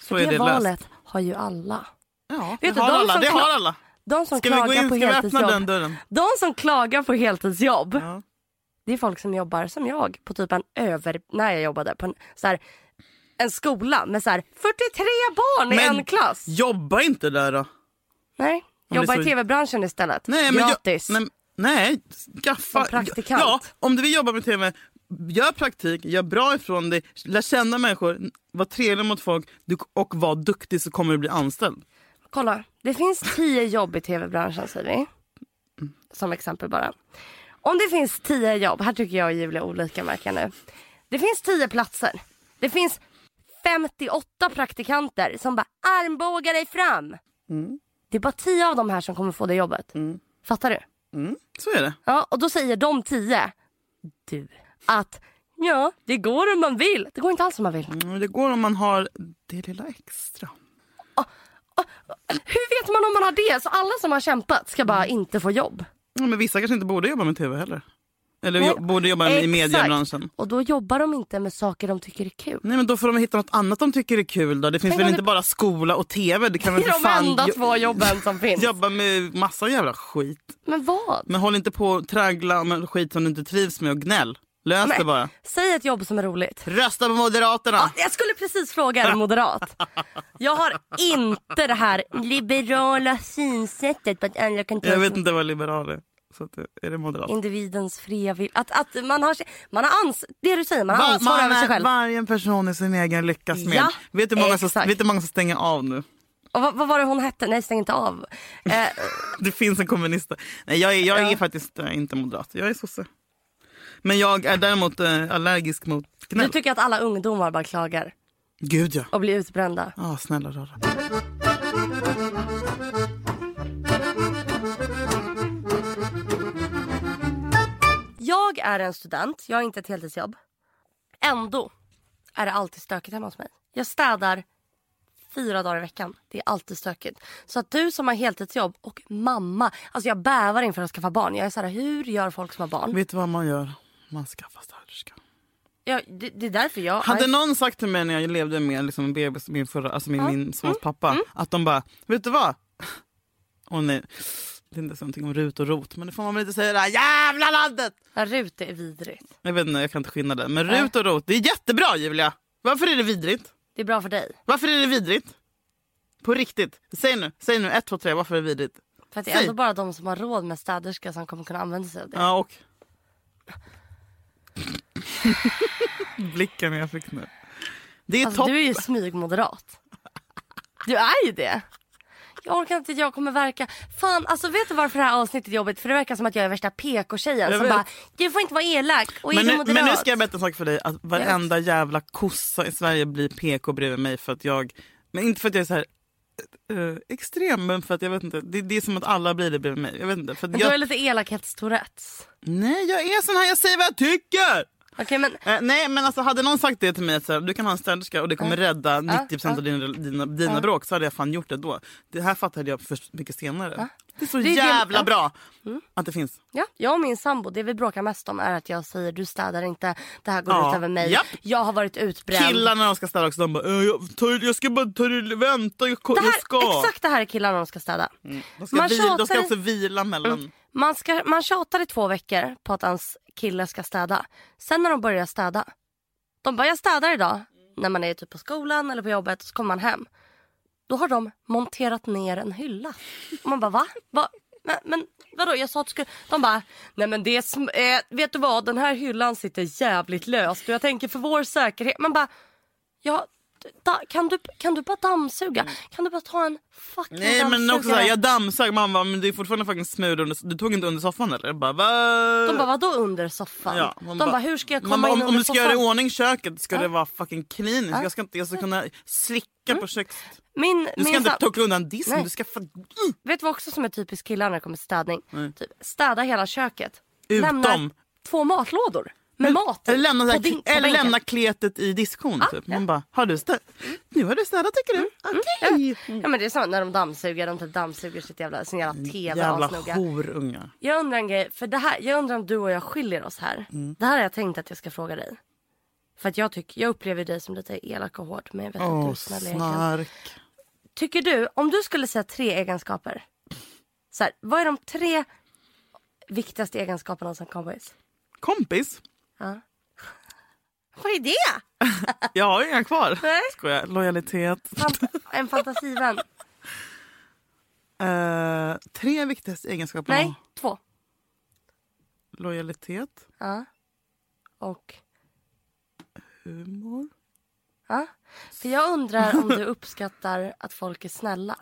A: Så
B: det,
A: är det löst.
B: valet har ju alla.
A: Ja,
B: Vet
A: det
B: du,
A: har
B: de
A: alla.
B: som
A: Det
B: kan-
A: har alla.
B: De som
A: Ska vi
B: klagar
A: gå in?
B: på
A: Ska vi öppna
B: heltidsjobb.
A: den dörren?
B: De som klagar på heltidsjobb.
A: Ja.
B: Det är folk som jobbar som jag på typ en över... När jag jobbade på en, så här, en skola med så här 43 barn i en klass.
A: jobba inte där då.
B: Nej,
A: det är
B: jobba i
A: så-
B: tv-branschen istället.
A: Nej, men
B: Gratis.
A: Jag, nej, nej, skaffa...
B: Som praktikant.
A: Ja, om du vill jobba med tv, gör praktik, gör bra ifrån dig, lär känna människor, var trevlig mot folk du, och var duktig så kommer du bli anställd.
B: Kolla, det finns 10 jobb i tv-branschen säger vi. Som exempel bara. Om det finns 10 jobb, här tycker jag och Julia olika märker jag nu. Det finns 10 platser. Det finns 58 praktikanter som bara armbågar dig fram. Det är bara 10 av de här som kommer få det jobbet. Fattar du?
A: Så är det.
B: Ja, och då säger de 10, du, att ja, det går om man vill. Det går inte alls om man vill.
A: Men Mm, det går om man har det lilla extra.
B: Hur vet man om man har det? Så alla som har kämpat ska bara inte få jobb.
A: Ja, men vissa kanske inte borde jobba med tv heller. Eller
B: Nej,
A: jo, borde jobba i
B: exakt.
A: mediebranschen.
B: Och då jobbar de inte med saker de tycker är kul.
A: Nej men då får de hitta något annat de tycker är kul då. Det finns
B: Tänk
A: väl
B: om
A: inte
B: det-
A: bara skola och tv? Det kan
B: Det
A: väl för
B: är de
A: fan
B: enda
A: jo-
B: två jobben som finns.
A: jobba med massa jävla skit.
B: Men vad?
A: Men håll inte på och traggla med skit som du inte trivs med och gnäll. Lös
B: Nej. Ah,
A: det bara.
B: Säg ett jobb som är roligt.
A: Rösta på Moderaterna!
B: Ja, jag skulle precis fråga en moderat. Jag har inte det här liberala synsättet på att alla kan ta
A: jag
B: sin-
A: vet inte vad liberal är. Så att, eh, är det moderat?
B: individens fria vilja. Att, att man har, man har ans- det du säger, man har
A: Va-
B: ansvar
A: man
B: över sig
A: är-
B: själv.
A: Varje person är sin egen lyckas med.
B: Ja,
A: vet, du hur många som, vet
B: exakt.
A: du hur många som stänger av nu?
B: Och vad, vad var det hon hette? Nej, stäng inte av. Eh,
A: Det finns en kommunist. där. Nej, jag är, jag är
B: Ja.
A: faktiskt eh, inte moderat. Jag är sosse. Men jag är däremot eh, allergisk mot
B: du
A: gnäll.
B: tycker att alla ungdomar bara klagar
A: Gud ja.
B: och blir utbrända.
A: Ja, snälla rara.
B: Jag är en student, jag har inte ett heltidsjobb. Ändå är det alltid stökigt hemma hos mig. Jag städar fyra dagar i veckan. Det är alltid stökigt. Så att du som har heltidsjobb och mamma. Alltså jag bävar inför att skaffa barn. Jag är så här, hur gör folk som har barn?
A: Vet du vad man gör? Man skaffar städerska.
B: Jag, det, det är därför jag...
A: Hade någon sagt till mig när jag levde med liksom, en bebis, min, förra, alltså min, min sons pappa, att de bara, vet du vad? Och nej, det är inte så någonting om rut och rot, men det får man väl inte säga i det här jävla landet!
B: Rut är vidrigt.
A: Jag vet inte, jag kan inte skilja det. Men rut och rot, det är jättebra Julia! Varför är det vidrigt?
B: Det är bra för dig.
A: Varför är det vidrigt? På riktigt, säg nu, säg nu, ett, två, tre, varför är det vidrigt?
B: För att det är ändå
A: Säg.
B: bara de som har råd med städerska som kommer kunna använda sig av det.
A: Ja, och? Blicken jag fick nu. Det är
B: Alltså,
A: topp.
B: du är ju smygmoderat. Du är ju det. Jag orkar inte, jag kommer verka... Fan, alltså vet du varför det här avsnittet är jobbigt? För det verkar som att jag är värsta PK-tjejen
A: Jag
B: som
A: vet.
B: bara, du får inte vara elak och är
A: Men
B: du
A: nu,
B: moderat.
A: men nu ska jag berätta en sak för dig. Att varenda jävla kossa i Sverige blir PK bredvid mig för att jag... Men inte för att jag är så här eh, extrem, men för att jag vet inte. Det, det är som att alla blir det bredvid mig. Jag vet inte. För att
B: Men då är det
A: jag,
B: lite elakhetstourettes.
A: nej, jag är sån här. Jag säger vad jag tycker!
B: Okej men,
A: Eh, nej, men alltså hade någon sagt det till mig att så här, du kan ha en städerska och det kommer rädda 90 av dina, dina, dina bråk så hade jag fan gjort det då. Det här fattade jag först mycket senare. Det är så
B: Det är det-
A: jävla
B: ja.
A: bra
B: Mm.
A: att det finns.
B: ja, jag och min sambo, det vi bråkar mest om är att jag säger du städar inte, det här går
A: Ja.
B: ut över mig,
A: Japp.
B: jag har varit utbränd.
A: Killarna när de ska städa också, de bara "Eh, jag, ta, jag ska bara ta det, vänta, jag, ko-
B: det här,
A: jag ska.
B: Exakt det här är killarna de ska städa.
A: De ska,
B: Man
A: vi, de ska
B: tjatar- Mm.
A: också vila mellan.
B: Man, ska, man tjatar i två veckor på att ens kille ska städa. Sen när de börjar städa. De bara, jag städar idag.
A: Mm.
B: När man är typ på skolan eller på jobbet så kommer man hem. Då har de monterat ner en hylla. Och man bara, va? va? Men, men vadå, jag sa att du skulle... De bara, nej men det är sm- eh, Vet du vad, den här hyllan sitter jävligt löst och jag tänker för vår säkerhet. Man bara, ja, da, kan, du, kan du bara dammsuga? Kan du bara ta en fucking
A: Mm. Nej men också såhär,
B: dammsugare?
A: jag dammsög, man bara, men det är fortfarande fucking smul under, du tog inte under soffan eller? Jag bara, Va?
B: De bara, vadå under soffan?
A: Ja,
B: de
A: hon
B: bara, hur ska jag komma
A: Mamma,
B: in
A: om,
B: under
A: om du ska
B: soffan?
A: göra i ordning köket ska det vara fucking kliniskt. Jag ska inte jag ska kunna slicka
B: Mm.
A: på köks...
B: Min,
A: Du
B: min
A: ska inte
B: sam-
A: tuckla undan disken.
B: Nej.
A: Du ska Mm. fan...
B: Vet du vad också som är typiskt killar när det kommer till städning? Typ, städa hela köket.
A: Utom-
B: Lämna två matlådor med mat i.
A: Eller lämna, så här,
B: På din- på
A: eller
B: bänken. Mm.
A: lämna kletet i diskon. typ. Man bara, har du städat? Nu har du städat tycker du? Okej.
B: Ja, men det är samma när de dammsuger. De typ dammsuger sitt jävla, sin jävla tv
A: Mm, Jävla
B: asnoga.
A: horungar.
B: Jag
A: Mm.
B: undrar en grej. För det här, jag undrar om du och jag skiljer oss här. Det här har jag tänkt att jag ska fråga dig. För att jag, tycker, jag upplever dig som lite elak och hård. Men jag vet att du
A: Åh,
B: är snäll och erkänn.
A: snark.
B: Tycker du, om du skulle säga tre egenskaper. Så här, vad är de tre viktigaste egenskaperna som kompis?
A: Kompis?
B: Vad är det?
A: Jag har ju inga kvar.
B: Nej.
A: Skojar. Lojalitet.
B: Fant- en fantasivän.
A: Eh, tre viktigaste egenskaper.
B: Nej, två.
A: Lojalitet,
B: Ja. Och,
A: humor.
B: ja. För jag undrar om du uppskattar att folk är snälla.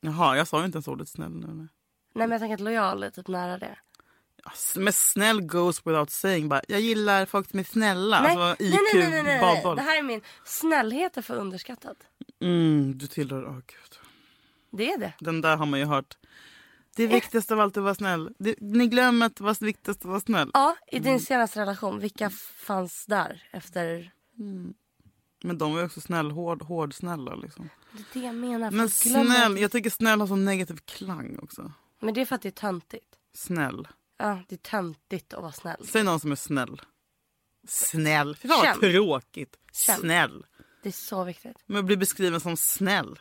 A: Jaha, jag sa ju inte ens ordet snäll nu. nej.
B: Nej men jag tänker att lojal är typ nära det.
A: Ja, s- Men snäll goes without saying. Bara, jag gillar folk som är snälla.
B: Nej,
A: Alltså,
B: nej,
A: IQ,
B: nej, nej, nej, nej, nej.
A: badboll.
B: Det här är min. Snällhet är för underskattad.
A: Mm, du tillhör... åh gud.
B: Det är det.
A: Den där har man ju hört.
B: Eh.
A: Det viktigaste av allt är att vara snäll. Det, ni glömmer att det var viktigast att vara snäll.
B: Ja, i
A: Mm.
B: din senaste relation, vilka fanns där efter
A: Men de var ju också snäll, hård, hård snälla liksom.
B: det är det jag menar?
A: Men
B: folk glömmer
A: snäll,
B: att-
A: jag tycker snäll har sån negativ klang också.
B: Men det är för att det är töntigt.
A: Snäll.
B: Ja, det är töntigt att vara snäll.
A: Säg någon som är snäll. Snäll. Fy fan vad
B: Känd.
A: tråkigt.
B: Känd.
A: Snäll.
B: Det är så viktigt.
A: Men jag blir beskriven som snäll.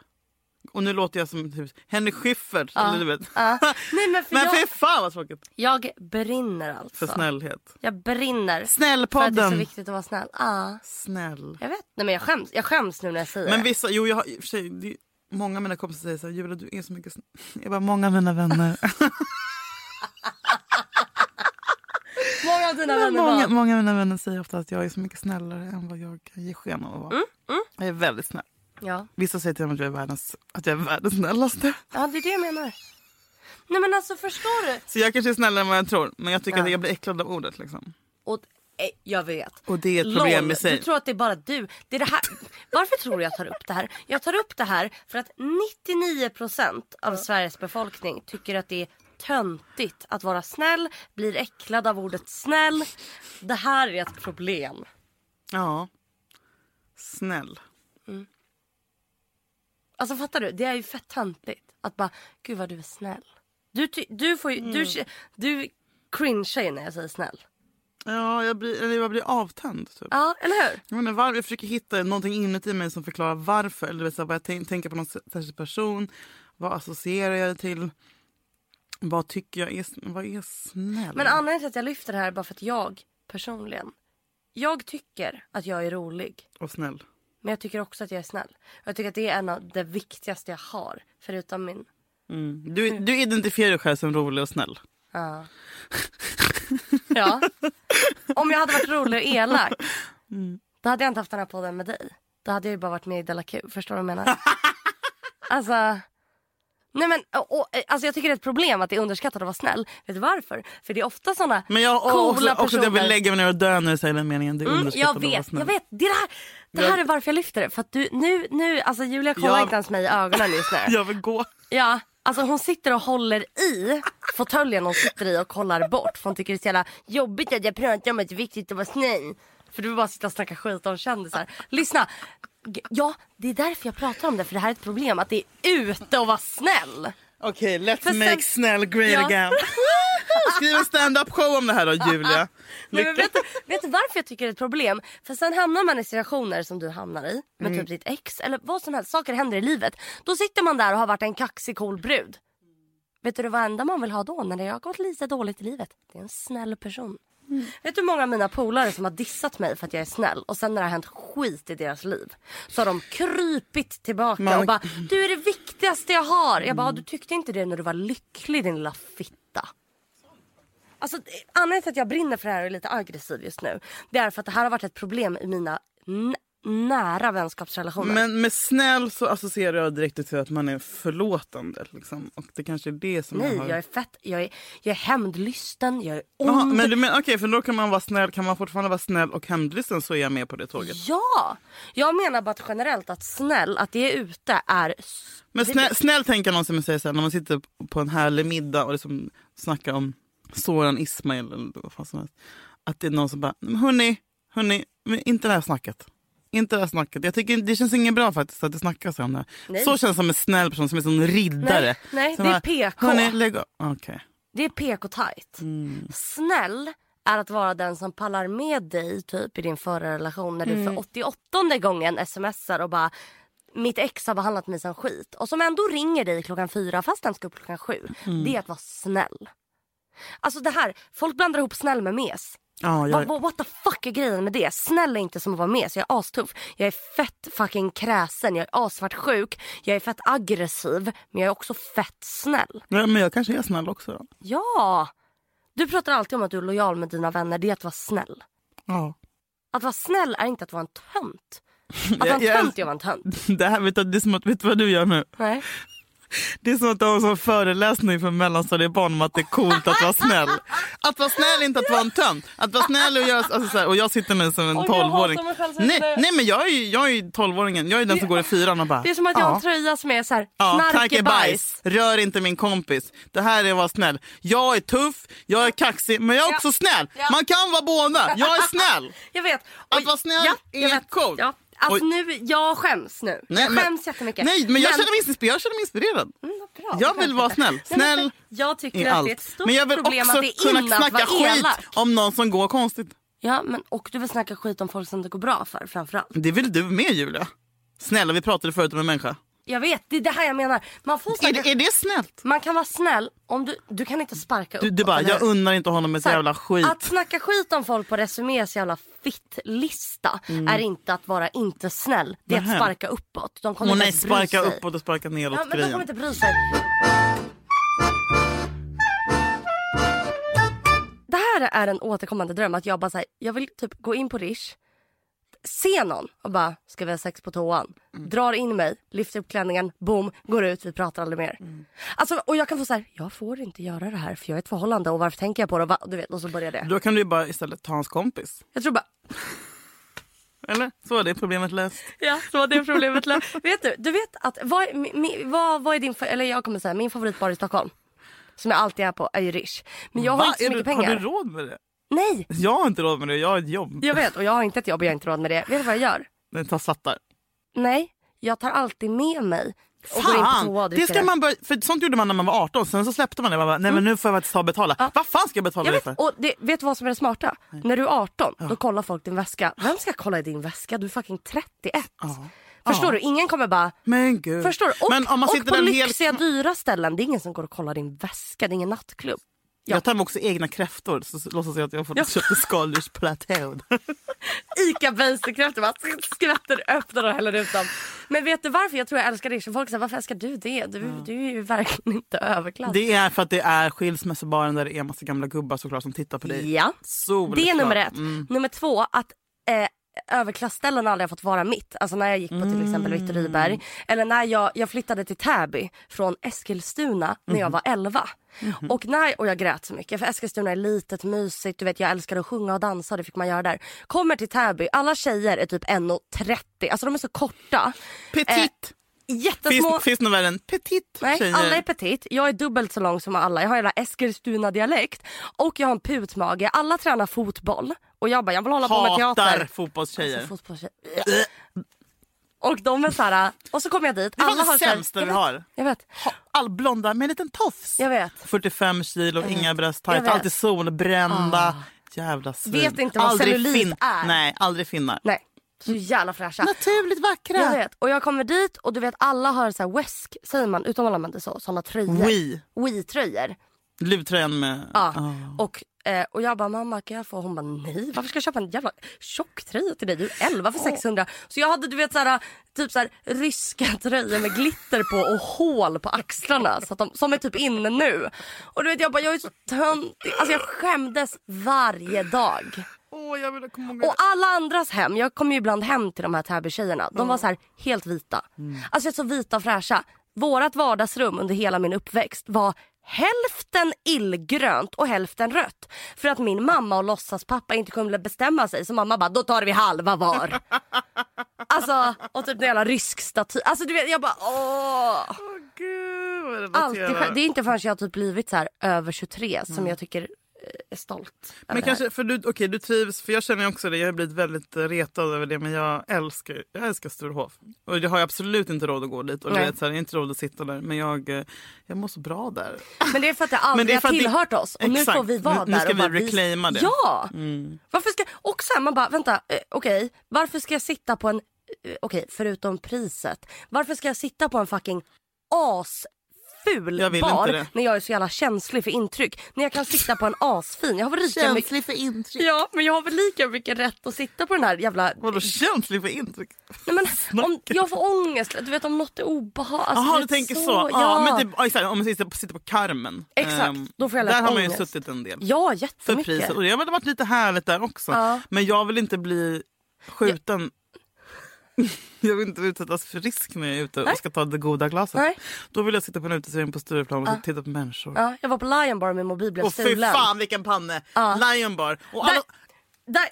A: Och nu låter jag som typ, Henry Schyffert. Eller du vet.
B: Ja. Nej men för
A: Men
B: jag,
A: fy fan vad tråkigt.
B: jag brinner alltså.
A: För snällhet.
B: Jag brinner. För att det är så
A: Snällpodden.
B: viktigt att vara snäll. Ja,
A: Snäll.
B: jag vet. Nej men jag skäms, jag skäms nu när jag säger
A: Men
B: det.
A: vissa, jo jag har, i och för sig, det, är- många av mina kompisar säger så här, Julia du är så mycket snäll. Jag bara, många av mina vänner.
B: Många av dina
A: Men
B: vänner
A: många,
B: var...
A: många av mina vänner säger ofta att jag är så mycket snällare än vad jag kan ge sken av att vara.
B: Mm,
A: Jag är väldigt snäll.
B: Ja.
A: Vissa säger till mig att jag är världens, att jag är världens snällaste.
B: ja, det är det jag menar. Nej men alltså förstår du?
A: Så jag kanske är snällare än vad jag tror. Men jag tycker
B: Ja.
A: att jag blir äcklad av ordet. Liksom.
B: Och, eh, jag vet.
A: Och det är ett problem
B: Lol,
A: i sig.
B: Du tror att det är bara du. Det är det här. Varför tror du jag tar upp det här? Jag tar upp det här för att 99% av Sveriges befolkning tycker att det är töntigt att vara snäll, blir äcklad av ordet snäll. Det här är ett problem.
A: Ja. Snäll.
B: Alltså fattar du? Det är ju fett töntigt att bara, gud vad du är snäll. Du, ty- du får ju,
A: Mm.
B: du, du cringear ju när jag säger snäll.
A: Ja, jag blir, eller jag blir avtänd. Typ.
B: Ja, eller hur?
A: Jag, menar, var, jag försöker hitta någonting inuti mig som förklarar varför. Eller du vet, så här, vad jag tän- tänker på någon s- särskild person. Vad associerar jag det till? Vad tycker jag är, s- vad är snäll?
B: Men anledningen till att jag lyfter det här är bara för att jag personligen, jag tycker att jag är rolig.
A: Och snäll.
B: Men jag tycker också att jag är snäll. Och jag tycker att det är en av det viktigaste jag har. Förutom min...
A: Du, du identifierar dig själv som rolig och snäll.
B: Ja. ja. Om jag hade varit rolig och elak.
A: Mm.
B: Då hade jag inte haft den här podden med dig. Då hade jag ju bara varit med i Della Q. Förstår du vad jag menar? alltså. Nej men och, och, alltså jag tycker det är ett problem att det är underskattat att vara snäll. Vet du varför? För det är ofta såna
A: Men jag och
B: coola
A: också, också att jag vill
B: personer.
A: lägga mig ner och dö när du säger den meningen. Det är
B: Mm,
A: underskattat
B: jag
A: att vara
B: vet,
A: snäll.
B: jag vet. Det, är det här, det här
A: Jag-
B: är varför jag lyfter det. För att du, nu, nu, alltså Julia kollar
A: Jag-
B: inte ens mig i ögonen just nu.
A: Jag vill gå.
B: Ja, alltså hon sitter och håller i fåtöljen hon sitter i och kollar bort. För hon tycker det är så jävla jobbigt att jag pratar om att det är viktigt att vara snäll. För du vill bara sitta och snacka skit om kändisar. Lyssna. G- Ja, det är därför jag pratar om det. För det här är ett problem. Att det är ute att vara snäll.
A: Okej, let's
B: För sen-
A: make snäll great
B: Ja.
A: again. Skriv en stand-up show om det här då, Julia.
B: Nej, men
A: Lycka.
B: vet, du, vet du varför jag tycker det är ett problem? För sen hamnar man i situationer som du hamnar i med typ ditt ex eller vad som helst. Saker händer i livet. Då sitter man där och har varit en kaxig cool brud. Vet du vad enda man vill ha då när det har gått lite dåligt i livet? Det är en snäll person. Vet du hur många av mina polare som har dissat mig för att jag är snäll och sen när det har hänt skit i deras liv så har de krypit tillbaka
A: Man-
B: och bara du är det viktigaste jag har. Jag bara du tyckte inte det när du var lycklig din lilla fitta. Alltså, det- anledningen till att jag brinner för det här och är lite aggressiv just nu det är för att det här har varit ett problem i mina n- nära vänskapsrelationer.
A: Men med snäll så associerar jag direkt till att man är förlåtande. Liksom. Och det kanske är det som
B: Nej,
A: jag har...
B: jag är fett, jag är, jag är hämndlysten, jag är ond.
A: Jaha, men du menar, okej, för då kan man vara snäll, kan man fortfarande vara snäll och hämndlysten så är jag med på det tåget.
B: Ja! Jag menar bara att generellt att snäll, att det är ute är... s-
A: Men
B: det-
A: snäll, snäll tänker jag någon som säger så här, när man sitter på en härlig middag och liksom snackar om Soran Ismail eller vad fan som helst. Att det är någon som bara, "Men hörni, hörni, men inte det här snacket. Inte det här snacket. Jag tycker det känns inget bra faktiskt att det snackas om det. här."
B: Nej.
A: Så känns som en snäll person, som är som en riddare.
B: Nej, nej,
A: Som
B: det är
A: bara,
B: PK.
A: Hörni, lägg av." Okej.
B: Det är PK-tajt. Snäll är att vara den som pallar med dig typ i din förra relation när du
A: Mm.
B: för 88 gången smsar och bara mitt ex har behandlat mig som skit och som ändå ringer dig klockan fyra fast den ska upp klockan sju.
A: Mm.
B: Det är att vara snäll. Alltså det här, folk blandar ihop snäll med mes.
A: Ja,
B: Vad-
A: jag,
B: vad- what the fuck är grejen med det? Snäll är inte som att vara med så jag är astuff. Jag är fett fucking kräsen, jag är assvartsjuk, jag är fett aggressiv men jag är också fett snäll.
A: Ja, men jag kanske är snäll också. Då.
B: Ja! Du pratar alltid om att du är lojal med dina vänner, det är att vara snäll.
A: Ja.
B: Att vara snäll är inte att vara en tönt. Att vara
A: Jag-
B: en
A: jag-
B: tönt är att vara en tönt.
A: Det här vet du, det är som att, vet du vad du gör nu?
B: Nej.
A: Det är som att du har en sån föreläsning för mellanstadiebarn om att det är coolt att vara snäll. Att vara snäll är inte att vara en tönt. Att vara snäll och göra... Alltså, så här, och jag sitter nu som en
B: Oj, jag hatar
A: tolvåring.
B: mig själv så
A: Nej,
B: mycket.
A: nej men jag är ju jag är ju tolvåringen. Jag är den som går i fyran och bara...
B: Det är som att jag har
A: "Ja,
B: en tröja som är så här,
A: Ja,
B: knark är bajs.
A: Rör inte min kompis. Det här är att vara snäll. Jag är tuff, jag är kaxig, men jag är också snäll.
B: Ja.
A: Man kan vara båda. Jag är snäll.
B: Jag vet.
A: Att vara snäll
B: jag
A: är
B: vet.
A: coolt.
B: Ja. Alltså
A: Oj.
B: nu, jag skäms nu. jag
A: men-
B: skäms jättemycket.
A: Nej, men jag, Känner mig inspirerad. jag känner mig inspirerad.
B: Mm, vad bra,
A: Jag
B: vad
A: vill
B: skönt
A: vara
B: detta.
A: snäll.
B: Nej, men
A: Snäll
B: Jag tycker
A: i
B: att det är ett
A: allt.
B: stort
A: Men jag vill
B: problem
A: också
B: att det är
A: kunna
B: in att
A: snacka
B: vara
A: skit
B: elak.
A: om någon som går konstigt.
B: Ja, men, och du vill snacka skit om folk som det går bra för framförallt.
A: Det vill du med Julia. Snälla, vi pratade förut om en människa.
B: Jag vet, det är det här jag menar. Man får
A: Är
B: snacka
A: det, är det snällt?
B: Man kan vara snäll om du, du kan inte sparka
A: Du,
B: uppåt,
A: du bara,
B: eller
A: jag
B: hur?
A: unnar inte honom ett
B: Så här,
A: jävla skit.
B: Att snacka skit om folk på Resumés jävla fittlista är inte att vara inte snäll. Det är att
A: Mm. Nähä.
B: sparka uppåt. De kommer
A: Åh
B: inte
A: nej,
B: ens bry sig.
A: sparka uppåt och sparka neråt
B: Ja, men de
A: grejen.
B: kommer inte bry sig. Det här är en återkommande dröm. Att jag bara så här, jag vill typ gå in på Rish, se någon och bara, ska vi ha sex på toan? Drar in mig, lyfter upp klänningen, boom, går ut, vi pratar aldrig mer. Alltså, och jag kan få så här, jag får inte göra det här för jag är i ett förhållande och varför tänker jag på det? Och, va, du vet, och så börjar det.
A: Då kan du ju bara istället ta hans kompis.
B: Jag tror bara,
A: Eller? Så är det problemet löst.
B: Ja, så var det problemet lö- Vet du, du vet att vad, mi- mi- vad, vad är din, fa- eller jag kommer säga min favoritbar i Stockholm. Som jag alltid är på är ju Rish. Men jag har
A: Va?
B: inte
A: Är
B: så mycket
A: du,
B: pengar.
A: Har du råd med det?
B: Nej,
A: Jag har inte råd med det, jag har ett jobb.
B: jag vet och jag har inte ett jobb och jag har inte råd med det. Vet du vad jag gör?
A: Den tar sattar.
B: Nej, jag tar alltid med mig. Och går in på toa
A: Fan!
B: och
A: Det
B: dricker
A: ska man börja, för sånt gjorde man när man var 18, sen så släppte man det. Man bara, nej men nu får jag faktiskt ta och betala. Vad fan ska jag betala
B: Mm. jag
A: det
B: vet,
A: för?
B: och det, vet du vad som är det smarta? När du är 18 då kollar folk din väska. Vem ska kolla i din väska? Du är fucking 31. Förstår
A: Ja.
B: du? Ingen kommer bara
A: Men gud.
B: Förstår du? Och,
A: men om man
B: och
A: sitter
B: på
A: där en hel...
B: lyxiga dyra ställen. Det är ingen som går och kollar din väska. Det är ingen nattklubb.
A: Jag tar med också egna kräftor, så så låtsas jag att jag har fått
B: Ja.
A: köpt en skaldjursplatå.
B: Ica Basic-kräftor. Man skvätter, öppnar och häller ut dem. Men vet du varför jag tror jag älskar Riche? Folk säger varför älskar du det? Du, du är ju verkligen inte överklass.
A: Det är för att det är skilsmässobaren där det är en massa gamla gubbar såklart som tittar på dig.
B: ja.
A: Solklart.
B: det är nummer ett.
A: Mm.
B: Nummer två, att eh, överklassställen aldrig har fått vara mitt. Alltså när jag gick på till exempel
A: Mm.
B: Viktor Rydberg. Eller när jag, jag flyttade till Täby från Eskilstuna när
A: Mm.
B: jag var 11.
A: Mm-hmm.
B: Och, när, och jag grät så mycket för Eskilstuna är litet, mysigt. Du vet jag älskar att sjunga och dansa och det fick man göra där. Kommer till Täby, alla tjejer är typ 1,30. Alltså de är så korta.
A: Petit!
B: Jättesmå.
A: finns, finns novellen Petit?
B: Eh, Nej,
A: tjejer?
B: alla är petit. Jag är dubbelt så lång som alla. Jag har hela Eskilstuna-dialekt och jag har en putmage. Alla tränar fotboll och jag bara, jag vill hålla på med
A: Hatar
B: teater.
A: fotbollstjejer.
B: Alltså, fotbollstjej- och de är så här, och så kommer jag dit.
A: Det är fan det
B: så här-
A: sämsta vi
B: jag vet,
A: har.
B: Jag vet,
A: Ha- Allblonda med en liten tofs.
B: jag vet.
A: 45 kilo, inga bröst,
B: Jag
A: tajta,
B: vet. Ah.
A: alltid solbrända. Jävla svin.
B: Vet inte vad cellulit är.
A: Nej, aldrig finnar.
B: Nej, så jävla fräscha.
A: Naturligt vackra.
B: Jag vet. Och jag kommer dit och du vet alla har så här wesk, säger man, utom alla använder så, såna tröjor.
A: Oui.
B: Oui-tröjor.
A: Luvtröjan med...
B: Ja. Och, eh, och jag bara, mamma kan jag få? Hon bara, nej varför ska jag köpa en jävla tjock tröja till dig? Du är 11 för 600. Så jag hade du vet såhär, typ såhär ryska tröjor med glitter på och hål på axlarna. Så att de, som är typ inne nu. Och du vet jag bara, jag är så töntig. Alltså jag skämdes varje dag.
A: Åh, jag vill komma ihåg.
B: Och alla andras hem, jag kommer ju ibland hem till de här Täby-tjejerna. De
A: Mm.
B: var så här helt vita. Alltså så vita och fräscha. Vårat vardagsrum under hela min uppväxt var hälften illgrönt och hälften rött. För att min mamma och låtsaspappa inte kunde bestämma sig. Så mamma bara, då tar vi halva var. alltså, och typ en jävla rysk staty. Alltså du vet, jag bara åh.
A: Åh, gud, vad det var
B: Alltid,
A: trevligt.
B: själv- det är inte förrän jag har typ blivit så här över 23 som jag tycker eh, är stolt. över
A: Mm. Men
B: det här.
A: kanske, för du, okej, du trivs, för jag känner ju också det, jag har blivit väldigt eh, retad över det, men jag älskar, jag älskar Sturehof. Och jag har ju absolut inte råd att gå dit och du
B: Nej.
A: vet, så här, jag har inte råd att sitta där, men jag, eh, jag mår så bra där.
B: Men det är för att det
A: Men
B: aldrig
A: det är för
B: har
A: att det-
B: tillhört oss och nu
A: Exakt.
B: får vi vara
A: Nu- nu
B: där.
A: ska
B: och
A: vi
B: bara
A: reclaima det. Mm.
B: Ja! Varför ska... Och sen man bara, vänta, eh, okej, varför ska jag sitta på en, eh, okej, förutom priset, varför ska jag sitta på en fucking asful
A: Jag vill
B: bar
A: inte det.
B: när jag är så jävla känslig för intryck? När jag kan sitta på en asfin, jag har väl lika mycket...
A: för intryck.
B: Ja, men jag har väl lika mycket rätt att sitta på den här jävla...
A: Vadå känslig för intryck?
B: Nej, men, om, jag får ångest, du vet om något är obehagligt. Alltså,
A: Jaha,
B: vet
A: du tänker så. Ja.
B: Ja,
A: men typ, ja, exakt, om man sitter på, sitter på Carmen.
B: Exakt,
A: Ehm,
B: då får jag lätt
A: Där har man ju
B: ångest.
A: suttit en del.
B: ja
A: för
B: jättemycket.
A: priset. Och det har varit lite härligt där också.
B: Ja.
A: Men jag vill inte bli skjuten. Jag vill inte utsättas för risk när jag är ute och
B: Nej.
A: ska ta det goda glaset.
B: Nej.
A: Då vill jag sitta på en uteservering på Stureplan och titta på människor.
B: Ja, jag var på Lion Bar och min mobil blev
A: Och fy
B: stulen.
A: fan vilken panne! Lion bar. Och alla...
B: Där,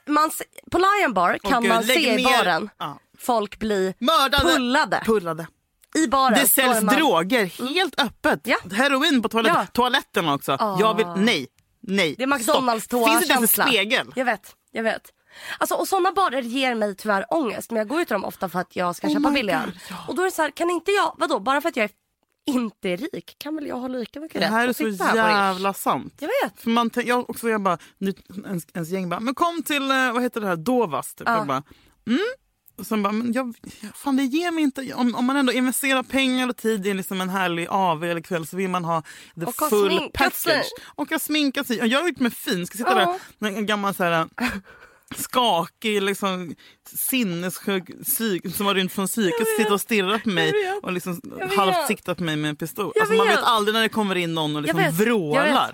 B: där, man, se- på Lion Bar kan
A: gud,
B: man
A: lägg
B: se
A: ner-
B: i baren
A: Ja.
B: folk bli
A: Mördade!
B: pullade.
A: Pullade.
B: I baren
A: Det
B: står
A: säljs
B: man- Mm.
A: droger helt öppet.
B: Ja.
A: Heroin på toaletten.
B: Ja.
A: Toaletten också. Jag vill... Nej. Nej.
B: Det är
A: Stopp.
B: McDonalds
A: Finns det inte ens en
B: toakänsla.
A: spegel?
B: Jag vet, jag vet. Alltså, och sådana barer ger mig tyvärr ångest men jag går ju till dem ofta för att jag ska köpa
A: Oh my
B: billig öl.
A: God, ja.
B: Och då är det så här, kan inte jag, vadå bara för att jag är inte är rik kan väl jag ha lika mycket
A: Det
B: rätt
A: här är
B: att
A: så
B: sitta här på er?
A: jävla sant.
B: Jag vet.
A: För man, tän- jag, också, jag bara, nu, ens, ens gäng bara, men kom till eh, vad heter det här, Dovas. Typ. Jag bara, mm. Och sen bara, men jag, fan det ger mig inte, om, om man ändå investerar pengar och tid i liksom en härlig AV eller kväll så vill man ha the
B: Och ha
A: full
B: sminkat sig.
A: package. Och ha sminkat sig. Och jag har gjort mig fin, ska sitta
B: Ja.
A: där med en gammal så här, eh, skakig, liksom, sinnessjuk psyk, som har rymt från psyket sitta och stirra på mig
B: vet.
A: och liksom
B: vet.
A: halvt siktat på mig med en pistol.
B: Jag
A: Alltså, man
B: vet.
A: vet aldrig när det kommer in någon och
B: Jag
A: liksom
B: vet, jag
A: vrålar.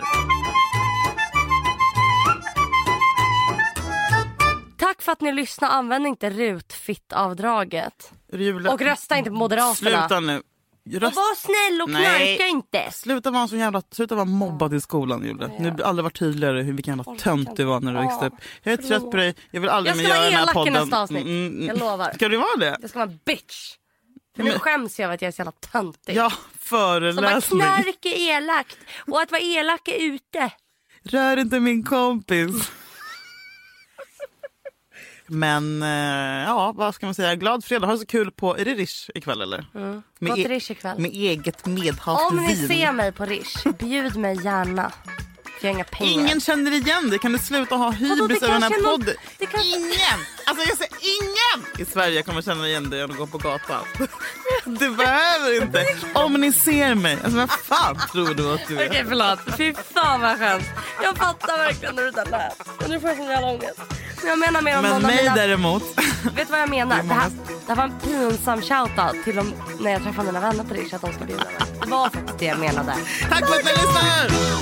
B: Tack för att ni lyssnade, använd inte rutfittavdraget.
A: Rula-
B: Och rösta inte på Moderaterna.
A: Sluta nu.
B: Och
A: Röst...
B: var snäll och
A: Nej.
B: knarka inte.
A: Sluta vara så jävla, sluta vara mobbad i skolan Julia. Nu har aldrig varit tydligare hur vilken jävla tönt du var när du
B: Ja,
A: växte upp. Jag är trött på dig, jag vill aldrig
B: Jag
A: mer
B: ska
A: göra
B: vara
A: den här
B: elak i
A: podden. Mm,
B: nästa avsnitt. Jag lovar.
A: Ska du vara det?
B: Jag ska vara en bitch. För nu skäms jag över att jag är så jävla töntig.
A: Ja,
B: Som bara
A: föreläsning.
B: knark är elakt och att vara elak är ute.
A: Rör inte min kompis. Men eh, ja, vad ska man säga? Glad fredag. Har du så kul på, är det Rish ikväll eller? Mm.
B: Gå till Rish ikväll.
A: Med eget medhavt
B: Om ni
A: vin.
B: ser mig på Rish, bjud mig gärna. För jag har inga pengar.
A: Ingen känner igen dig. Kan du sluta ha
B: Vadå, det
A: hybris över den här
B: kanske är någon-
A: podden?
B: det kanske-
A: Ingen! Alltså jag säger ingen! I Sverige kommer känna igen dig om du går på gatan. Du behöver inte. Om ni ser mig. Alltså vem fan tror du att du är?
B: Okej förlåt, fy fan vad skönt. Jag fattar verkligen hur det där lät. Och nu får jag sån jävla ångest. Men jag menar mer om
A: Men
B: någon av
A: mig
B: mina...
A: däremot.
B: Vet du vad jag menar? Det här, det här var en pinsam shoutout till de, när jag träffade mina vänner på Rish att de ska bjuda mig. Det var faktiskt det jag menade.
A: Tack för att ni lyssnar!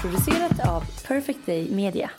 G: Producerat av Perfect Day Media.